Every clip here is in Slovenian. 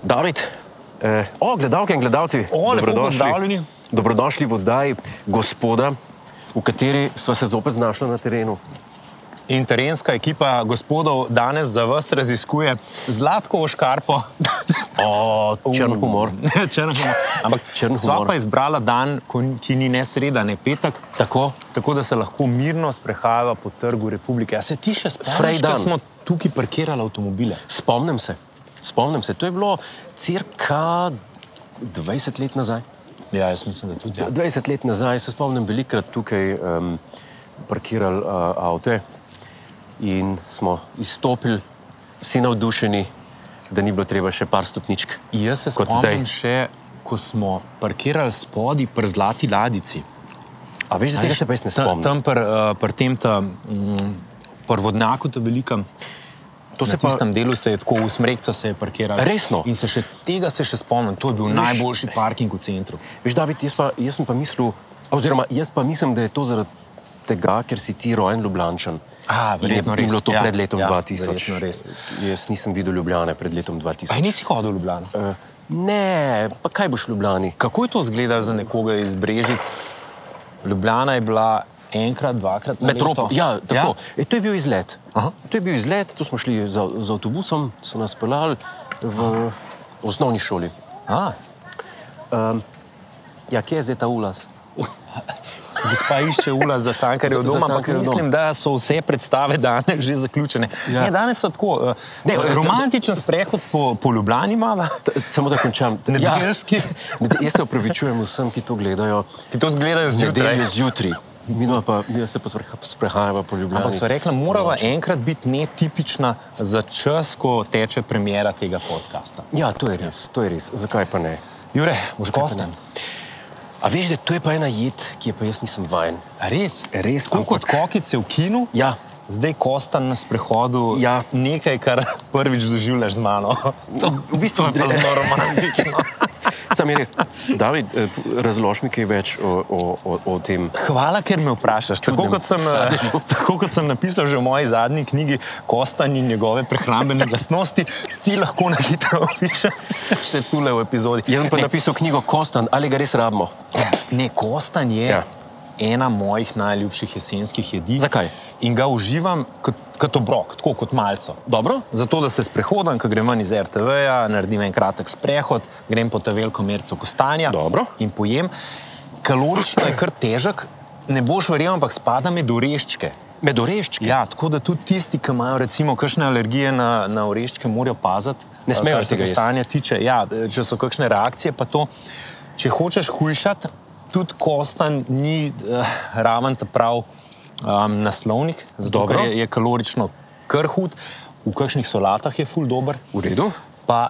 David, eh, o, gledalke in gledalci, O, lepo pozdravljeni. Dobrodošli v oddaji gospoda, v kateri smo se zopet znašli na terenu. In terenska ekipa gospodov danes za vas raziskuje zlatko škarpo. O, črn humor. Črn humor. Ampak Črn sva humor. pa izbrala dan, ko ni- ki ni ne sreda, ne petek, Tako, tako da se lahko mirno sprehajava po trgu Republike. A se ti še Frej spomniš, da dan. smo tukaj parkirali avtomobile? spomnim se. Spomnim se, to je bilo cirka 20 let nazaj. Ja, jaz mislim, da tudi. Ja. 20 let nazaj se spomnim, velikrat tukaj um, parkirali uh, avto in smo izstopili, vsi navdušeni, da ni bilo treba še par stopničk. Jaz se Kot spomnim zdaj. še, ko smo parkirali spodaj pri zlati ladici. A veš, da tega se pa jaz ne Ta- spomnim. Tam pri eh, pri tem ta, mm, pri vodnjaku, ta velikem. to Na se pa tistem delu se je tako usmrekca se je parkirala. Resno? In se še tega se še spomnim. To je bil Viš- najboljši parking v centru. Veš, David, jaz, pa, jaz sem pa mislil, oziroma jaz pa mislim, da je to zaradi tega, ker si ti rojen Ljubljančan. A, In je verjetno res, bilo to ja, pred letom ja, 2000. verjetno res. Jaz nisem videl Ljubljane pred letom Aj 2000. nisi hodil v Ljubljano. Eh, Ne, pa kaj boš v Ljubljani? Kako je to izgledalo za nekoga iz Brežic? Ljubljana je bila enkrat, dvakrat na Metropo, leto. ja, tako. Ja? E, to je bil izlet. Aha. To je bil izlet, tu smo šli z, av- z avtobusom, so nas pelali v osnovni šoli. A, Ja, kje je zdaj ta ulas? gospa išče ula za cankarjev Za- za dom, ampak Cankarjev dom. mislim, da so vse predstave danes že zaključene. Ja. Ne, danes so tako. eh, Ne, eh, romantičen sprehod po, po Ljubljani imamo. T- Samo da končam. Nedeljski. Ja, jaz se opravičujem vsem, ki to gledajo. Ti to zgledajo zjutraj. Nedeljo zjutraj. Mi dva pa, mi se pa spreha- sprehajava po Ljubljani. Ampak sva rekla, morava enkrat biti netipična za čas, ko teče premjera tega podcasta. Ja, to je res, to je res. Zakaj pa ne? Jure, boš gostem. A veš, da to je pa ena jed, ki je pa jaz nisem vajen. Res? Res, Ja. Tako ampak- kot kokice v kinu, Ja, zdaj kostan na sprehodu Ja. nekaj, kar prvič doživljaš z mano. To v bistvu je pa zelo romantično. Sam je res. David, eh, razloži mi kaj več o, o, o, o tem. Hvala, ker me vprašaš. Tako Čudnem kot, sem, eh, tako kot sem napisal že v moji zadnji knjigi Kostan in njegove prehrambene lastnosti, ti lahko na hitro opišem še tule v epizodi. Jaz sem pa Ne, napisal knjigo Kostan, ali ga res rabimo. Ne, kostan je Ja. ja. ena mojih najljubših jesenskih jedi. Zakaj? In ga uživam kot, kot obrok, tako kot malce. Dobro? Zato, da se sprehodim, ko grem ven iz RTV-ja, naredim en kratek sprehod, grem po ta veliko merco kostanja Dobro. in pojem. Kalorično je kar težek, ne boš verjel, ampak spada med oreščke. Med oreščki. Ja, tako da tudi tisti, ki imajo recimo kakšne alergije na, na oreščke, morajo paziti. eh, Ne smejo kar se tega jesti. stanja tiče. Ja, če so kakšne reakcije, pa to. Če hočeš hujšati, tudi kostan ni uh, raven ta prav um, naslovnik, zato Dobro. ker je, je kalorično kar hud, v kakšnih solatah je ful dober, V redu. pa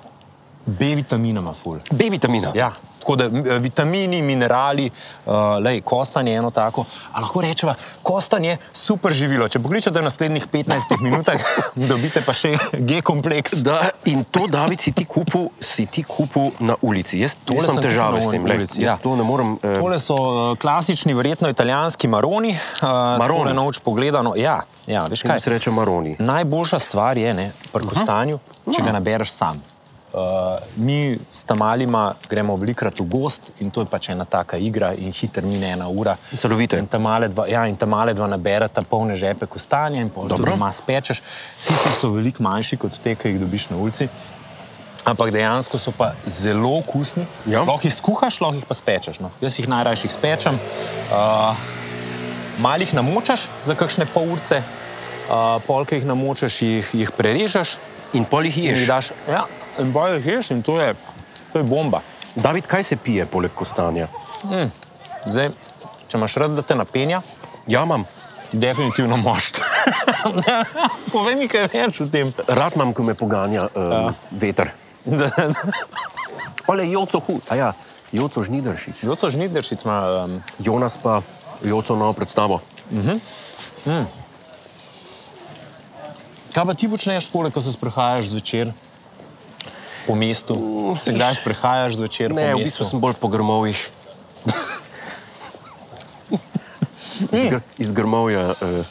B vitaminoma ful. B vitamina. Ja, tako da m, vitamini, minerali, uh, lej, kostan je eno tako. A lahko rečemo, kostan je super živilo. Če pogledate v naslednjih 15 minutah, dobite pa še G-kompleks. Da, in to, David, si ti kupil, si ti kupil na ulici. Jaz, jaz sem imam težave s kupil tem. na glej. ulici, Jaz ja. to ne morem. eh, Tole so eh, klasični, verjetno italijanski maroni. eh, Maroni. Marone noč pogledano. Ja, ja, veš Kaj kaj? se reče maroni? Najboljša stvar je, ne, pri kostanju, če No. ga nabereš sam. Uh, mi s tamalima gremo velikrat v gost in to je pač ena taka igra in hitro mine ena ura. Celovito je. In ta male dva, ja, in ta male dva nabereta polne žepe kostanja in pol to Dobro. doma spečeš. Sicer so veliko manjši kot te, ki jih dobiš na ulici, ampak dejansko so pa zelo okusni. Ja. Lahko jih skuhaš, lahko jih pa spečeš. No. Jaz jih najrajši spečem. Uh, malih namočaš za kakšne pol urce, uh, polke jih namočaš, jih, jih prerežeš, In pol jih in ješ. jih daš. Ja, in bojo jih ješ in to je, to je bomba. David, kaj se pije poleg kostanja? Zdaj, če imaš rad, da te napenja, Ja, imam. definitivno mošt. Povej mi kaj več o tem. Rad imam, ko me poganja um, ja. veter. Ole, Joco Hud, a ja, Joco Žnidaršič. Joto Žnideršic ima um, Jonas pa Joco novo predstavo. Kaj pa ti počneš, poleg ko se sprehajaš zvečer po mestu? Se kdaj sprehajaš zvečer Ne, po v mestu? bistvu sem bolj po grmovih. iz, gr, iz grmovja. Uh,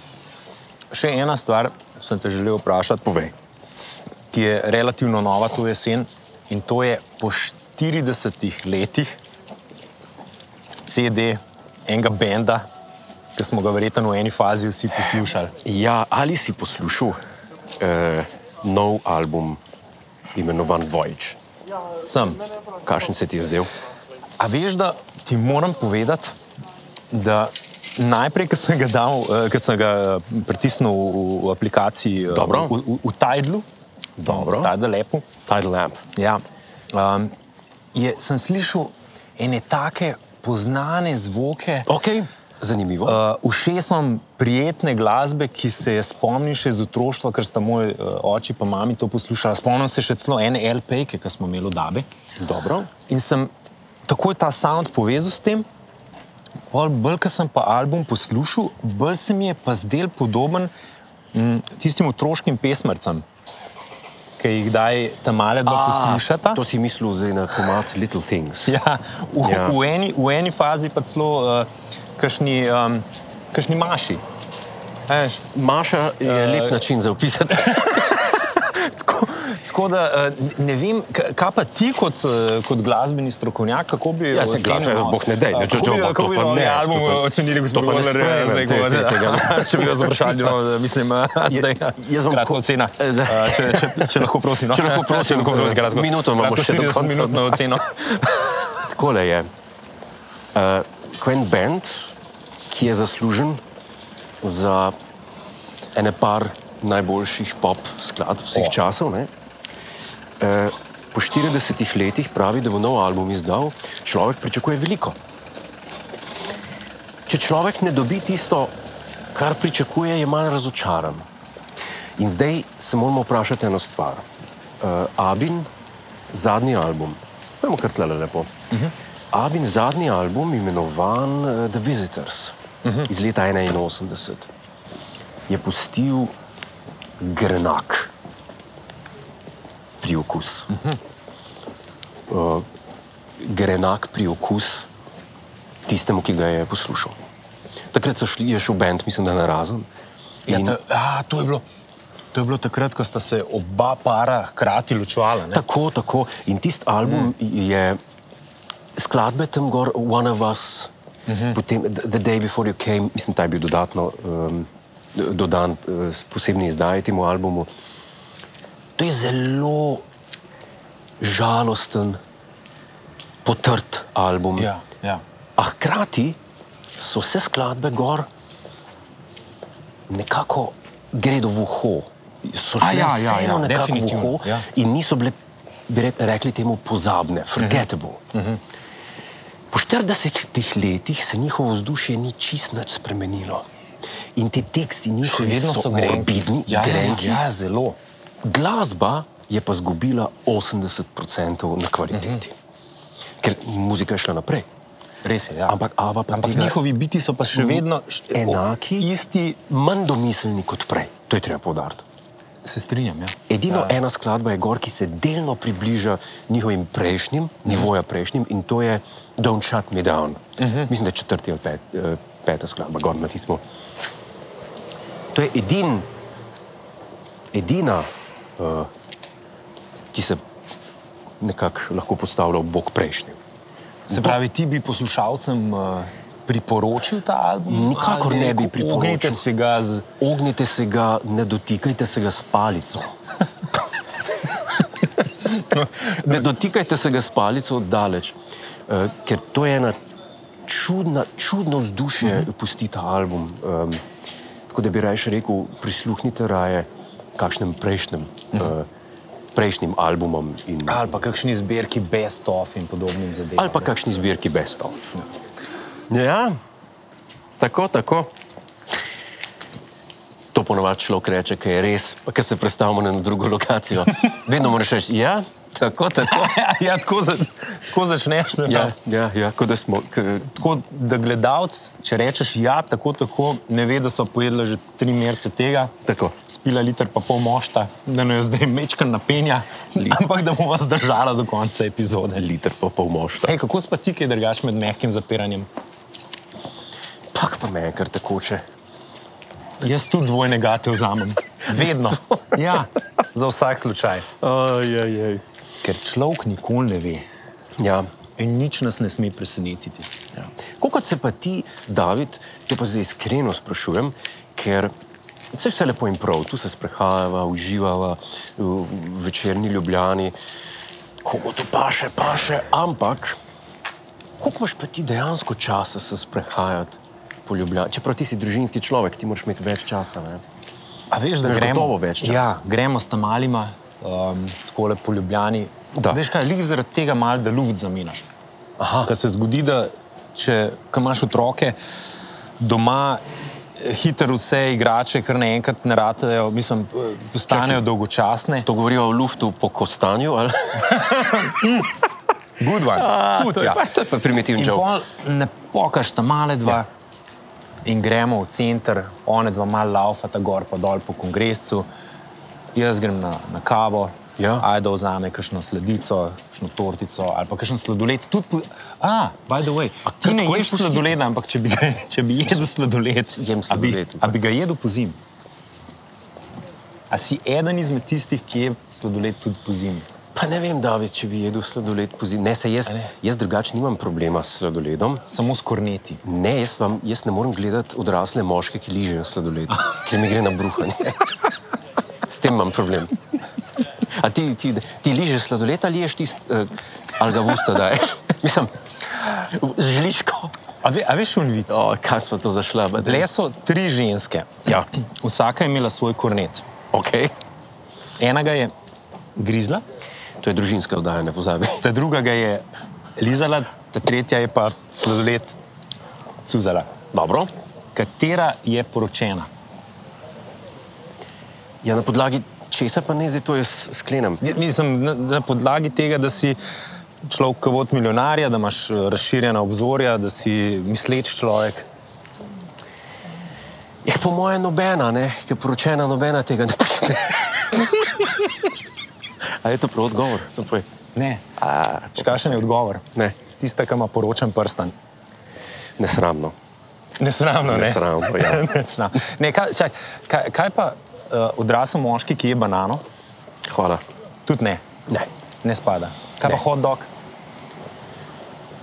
Še ena stvar sem te želel vprašati, Povej. ki je relativno nova to jesen in to je po 40 letih CD enega benda, ki smo ga verjetno v eni fazi vsi poslušali. ja, ali si poslušal uh, nov album imenovan Voyage? Sem. Kakšen se ti je zdel? A veš, da ti moram povedati, da najprej, ko sem ga, dal, eh, ko sem ga eh, pritisnil v, v aplikaciji, eh, Dobro. v, v, v Tidlu, Dobro. Tidal lepo, Tidal Amp. ja, um, je, sem slišal ene take poznane zvoke. Ok, zanimivo. Uh, Uh, Všesom prijetne glasbe, ki se je spomnim še iz otroštva, ker sta moj uh, oče in mami to poslušala. Spomnim se še celo ene LP-ke, ki smo imeli v Dabi. Dobro. In sem takoj ta sound povezal s tem. Pol Bolj, ko sem pa album poslušal, bolj se mi je pa zdel podoben m, tistim otroškim pesmicam, ki jih daj tam male dva poslušata. To si mislil zdaj na komat Little Things. Ja, v, Ja. ja. V, eni, v eni fazi pa celo uh, kašni, um, kašni maši. Eš, Maša je lep način za opisati. tako, tako da eh, ne vem, k- kaj pa ti kot, eh, kot glasbeni strokovnjak, kako bi Ja, te ocenil? glasbe, no? bog ne daj, ne, Eh, če- kako če- bi- pa kako to bi pa rovni ne, album to pa- ocenili, gospod to pa ne Voler, sprejmem, zdaj, te- ko- te- tega. če bi ga vprašali, no, mislim, eh, zdaj, jaz bom kratka ko- ocena. Eh, da. Eh, Če, če, če lahko prosim, no. Če lahko prosim, Če lahko prosim, glasbo. minuto imamo Lahko še do 40 konca. minutno oceno. Takole je. Uh, ko je en bend, ki je zaslužen za ene par najboljših pop skladb vseh O. časov, ne, uh, po 40 letih pravi, da bo nov album izdal, človek pričakuje veliko. Če človek ne dobi tisto, kar pričakuje, je malo razočaran. In zdaj se moramo vprašati eno stvar. Uh, Abin, zadnji album, pojmo kar tle lepo. Uh Mhm. -huh. Abin, zadnji album, imenovan uh, The Visitors uh Mhm. -huh. iz leta 81, je pustil grenak priokus. Uh Mhm. -huh. uh, grenak priokus tistemu, ki ga je poslušal. Takrat so šli, je šel bend, mislim, da na razen. Ja, ta, a, to, je bilo, to je bilo takrat, ko sta se oba para hkrati ločevala. ne? Tako, tako. In tisti album mm. je skladbe tam gor, One of Us, mm Mhm. -hmm. potem The The Day Before You Came, mislim, ta je bil dodatno um, dodan uh, posebni izdaji temu albumu. To je zelo žalosten, potrt album. Ja, ja. A hkrati so vse skladbe gor nekako gredo v uho. So A šle ja, ja, ja, ja, ja, ja, nekako v definitivno, uho ja. ja. in niso bile, bi re- rekli temu, pozabne, forgettable. Uh Mhm. -huh. Po 40 letih se njihovo vzdušje ni čist nič spremenilo. In ti teksti Še njihovi vedno so grenki. morbidni, Ja, ja, grenki. ja, zelo. Glasba je pa izgubila 80% na kvaliteti, Mhm. ker muzika je šla naprej. Res je. Ja. Ampak, Abba pa Ampak Hm. tega- njihovi biti so pa še vedno š- enaki. o, Isti, manj domiselni kot prej. To je treba povdariti. se strinjam. Ja. Edino ja. ena skladba je gor, ki se delno približa njihovim prejšnjim, nivoja prejšnjim, in to je Don't Shut Me Down. Uh -huh. Mislim, da je četrti ali pet, eh, peta skladba, gor na tismo. To je edin, edina, uh, ki se nekako lahko postavlja ob bok prejšnjim. Se pravi, ti bi poslušalcem uh, priporočil ta album? Nikakor Ali ne bi rekel, priporočil. Ognite se ga z. Ognite se ga, ne dotikajte se ga s palico. ne dotikajte se ga s palico daleč, uh, ker to je ena čudna, čudno vzdušje, mm -hmm. pusti ta album. Um, tako da bi raje rekel, prisluhnite raje kakšnem prejšnjem, mm -hmm. uh, prejšnjim albumom. In, Ali pa kakšni zbirki best of in podobnim zadevam. ali pa kakšni zbirki best of. Ja, tako, tako. To ponovadi človek reče, ker je res, pa ker se predstavimo na eno drugo lokacijo. Vedno moraš reči, ja, tako, tako. ja, tako, za, tako začneš. se Ja, pravi. ja, ja kot da smo. K, Tako da gledalec, če rečeš ja, tako, tako, ne ve, da so pojedli že tri merce tega, tako. spila liter pa pol mošta, da ne jo zdaj mečkam napenja, ampak da bova zdržala do konca epizode. Liter pa pol mošta. Ej, kako si pa ti, ki drugač med mehkim zapiranjem? Pak pa me enkrat tekoče. Jaz tudi dvojnega te vzamem. Vedno. Ja, za vsak slučaj. Ajajaj. Ker človek nikoli ne ve Ja. in nič nas ne sme presenetiti. ja. Kako se pa ti, David, to pa zdaj iskreno sprašujem, ker se vse lepo in prav, tu se sprehajava, uživava v večerni ljubljani, komu to paše, paše, ampak koliko imaš pa ti dejansko časa se sprehajati? po Ljubljani? Čeprav ti si družinski človek, ti moraš imeti več časa. Ne? A veš, da Imaš gremo, gotovo več časa. ja, gremo s tam malima, um, tako lepo ljubljeni. Da. Veš kaj, lih zaradi tega mal, da luft zamenjaš. Aha. Ker se zgodi, da če ko imaš otroke doma, eh, hitro vse igrače, kar naenkrat ne ratejo, mislim, eh, postanejo dolgočasne. To govorijo o luftu po kostanju. ali? Hm. Good one, to, tudi je ja. pa, to je pa primitivni In žog. pol ne pokaš tam male dva. Ja. In gremo v center, one dva malo laufata gor in dol po kongresu. Jaz grem na, na kavo, Ja. ajdo vzame kakšno sledico, kakšno tortico ali pa kakšen sladoled. Tudi, po, a, by the way, A ti kar ne takoj ješ pusti? sladoleda, ampak če bi, ga- če bi jedel sladoled, Jem sladoled. A bi, a bi ga jedel po zim? A si eden izmed tistih, ki je sladoled tudi po zim? Pa ne vem, David, če bi jedel sladoled pozimi. Ne, se jaz, ne? jaz drugače nimam problema s sladoledom. Samo s korneti. Ne, jaz, vam, jaz ne morem gledati odrasle moške, ki ližejo sladoled, ker mi gre na bruhanje. S tem imam problem. A ti, ti, ti ližeš sladoled ali ješ ti, eh, ali ga v usta daješ? Mislim, z žličko. A, ve, a veš, unvic? O, kaj smo to zašla? Bile so tri ženske. Ja. Vsaka je imela svoj kornet. Okay. Ena ga je grizla, To je družinska oddaja, ne pozabi. ta druga ga je lizala, ta tretja je pa sladoled cuzala. Dobro. Katera je poročena? Ja, na podlagi česa pa ne, zdaj to jaz sklenem. Ja, Mislim, na, na podlagi tega, da si človek kot milijonarja, da imaš eh, razširjena obzorja, da si misleč človek. Je Ja, po moje nobena, ne? ki je poročena, nobena tega ne počne. A je to prav odgovor? Samo povej. Ne. Kakšen je odgovor? Ne. Tista, ki ima poročen prstan. Nesramno. Nesramno, ne? Nesramno, ja. Nesramno. ne, kaj, čak, kaj, kaj pa uh, odrasel moški, ki je banano? Hvala. Tudi ne, Ne. ne spada. Kaj ne. pa Ne. hot dog?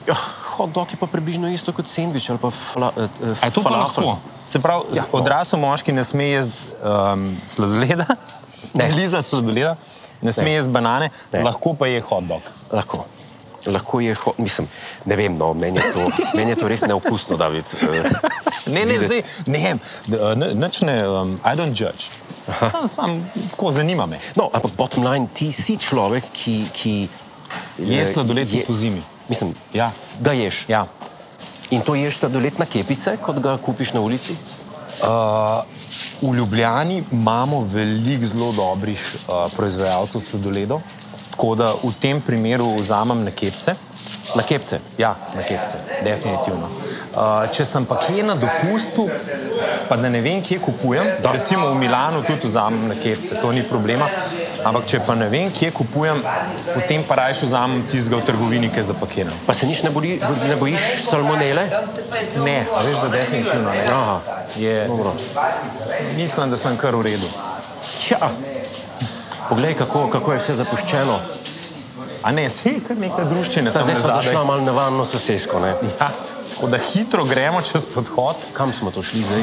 Ja, hot dog je pa približno isto kot sendvič ali pa fla, eh, eh, A je to pa falafel. lahko? Se pravi, ja, Ja, no. odrasel moški ne sme jesti um, sladoleda, ne liza sladoleda, ne sme Ne. jesti banane, ne. Ne. lahko pa je hot dog. Lahko. Lahko je, ho- mislim, ne vem, no, meni je to, meni je to res neokusno, David. Eh, Ne, ne, videti. zdaj, ne, da, ne, nič ne, um, I don't judge. Sam, sam, tako zanima me. No, ampak bottom line, ti si človek, ki. ki Je eh, sladoled tudi je- po zimi. Mislim, Ja. ga ješ. Ja. In to ješ sladoled na kepice, kot ga kupiš na ulici? V Ljubljani imamo veliko zelo dobrih uh, proizvajalcev sladoledov, tako da v tem primeru vzamem na kepce. Na kepce. Ja, na kepce, definitivno. Uh, če sem pa kje na dopustu, pa da ne vem, kje kupujem, da. recimo v Milano tudi vzamem na kepce, to ni problema. Ampak če pa ne vem, kje kupujem, potem pa rajš vzamem tistega v trgovini, ki je zapakiran. Pa se nič ne, boli, ne bojiš salmonele? Ne, a veš, da definitivno ne. Aha. Je, mislim, da sem kar v redu. Ja. Poglej, kako, kako je vse zapuščeno. A ne, si kar nekaj druščine. Zdaj tamle zdaj smo zadaj. zašli malo nevarno sosesko. Ne? Ja, tako da hitro gremo čez podhod, Kam smo to šli zdaj?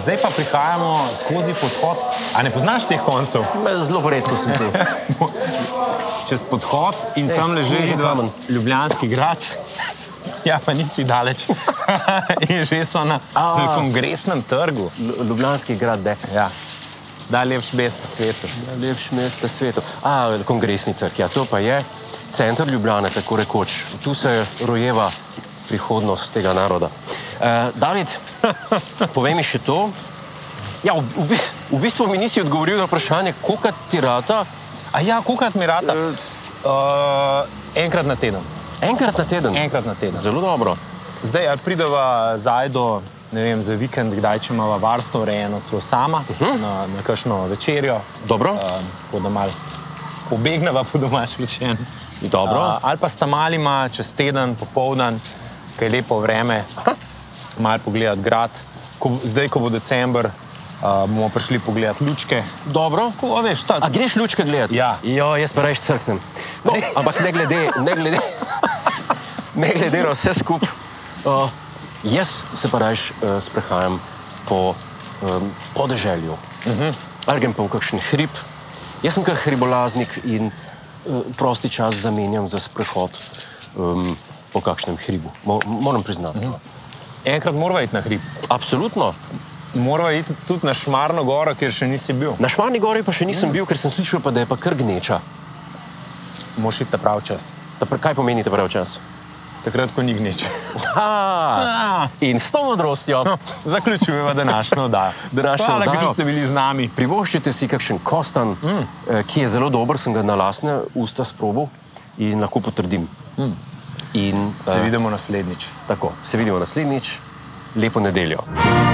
zdaj pa prihajamo skozi podhod. A ne poznaš teh koncev? Me Zelo redko sem tu. čez podhod in Ej, tam leži Jože dva- Kamen. Ljubljanski grad. Ja, pa nisi daleč. in že so na A. kongresnem trgu. Lu- Ljubljanski grad, da. Ja. Najlepši mest na svetu. Najlepši mest na svetu. A, kongresni trg, ja, to pa je center Ljubljana, tako rekoč. Tu se rojeva prihodnost tega naroda. Uh, David, povej mi še to. Ja, v, v, bist- v bistvu mi nisi odgovoril na vprašanje, koliko ti rata A ja, kolikrat mi rata? Eh. Uh, enkrat na teden. enkrat na teden. Enkrat na teden. Zelo dobro. Zdaj, ali prideva zajdo, ne vem, za vikend, kdaj če imamo varstvo urejeno, celo sama, uh -huh. na, na kakšno večerjo. Mhm. Dobro. Um, tako da malo pobegneva po Eh, domač rečen. Dobro. Ja. Uh, ali pa sta malima čez teden, popoldan, kaj je lepo vreme. malo pogledati grad. Ko, zdaj, ko bo december, uh, bomo prišli pogledati lučke. Dobro. Ko, a veš, ta, A greš lučke gledati? Ja. Jo, jaz pa rajš crknem. No, ampak ne glede, ne glede, ne glede na vse skupaj, uh, jaz se pa rajš uh, sprehajam po um, podeželju. Uh -huh. Ali grem pa v kakšen hrib. Jaz sem kar hribolaznik in uh, prosti čas zamenjam za sprehod um, po kakšnem hribu. Mo moram priznati. Uh -huh. enkrat moramo iti na hrib. Absolutno. Moramo iti tudi na Šmarno goro, kjer še nisi bil. Na Šmarni gori pa še nisem bil, ker sem slišal, pa, da je pa kar gneča. Moš iti ta prav čas. Ta, pr- kaj pomeni ta pravi čas? Takrat, ko ni gneče. Ha! In s to modrostjo Zaključujemo no, današnjo oddajo. Današnjo Hvala, oddajo. ker ste bili z nami. privoščite si kakšen kostan, mm. ki je zelo dober, sem ga na lastne usta sprobal in lahko potrdim. Mm. In Se eh, vidimo naslednjič. tako, se vidimo naslednjič, lepo nedeljo.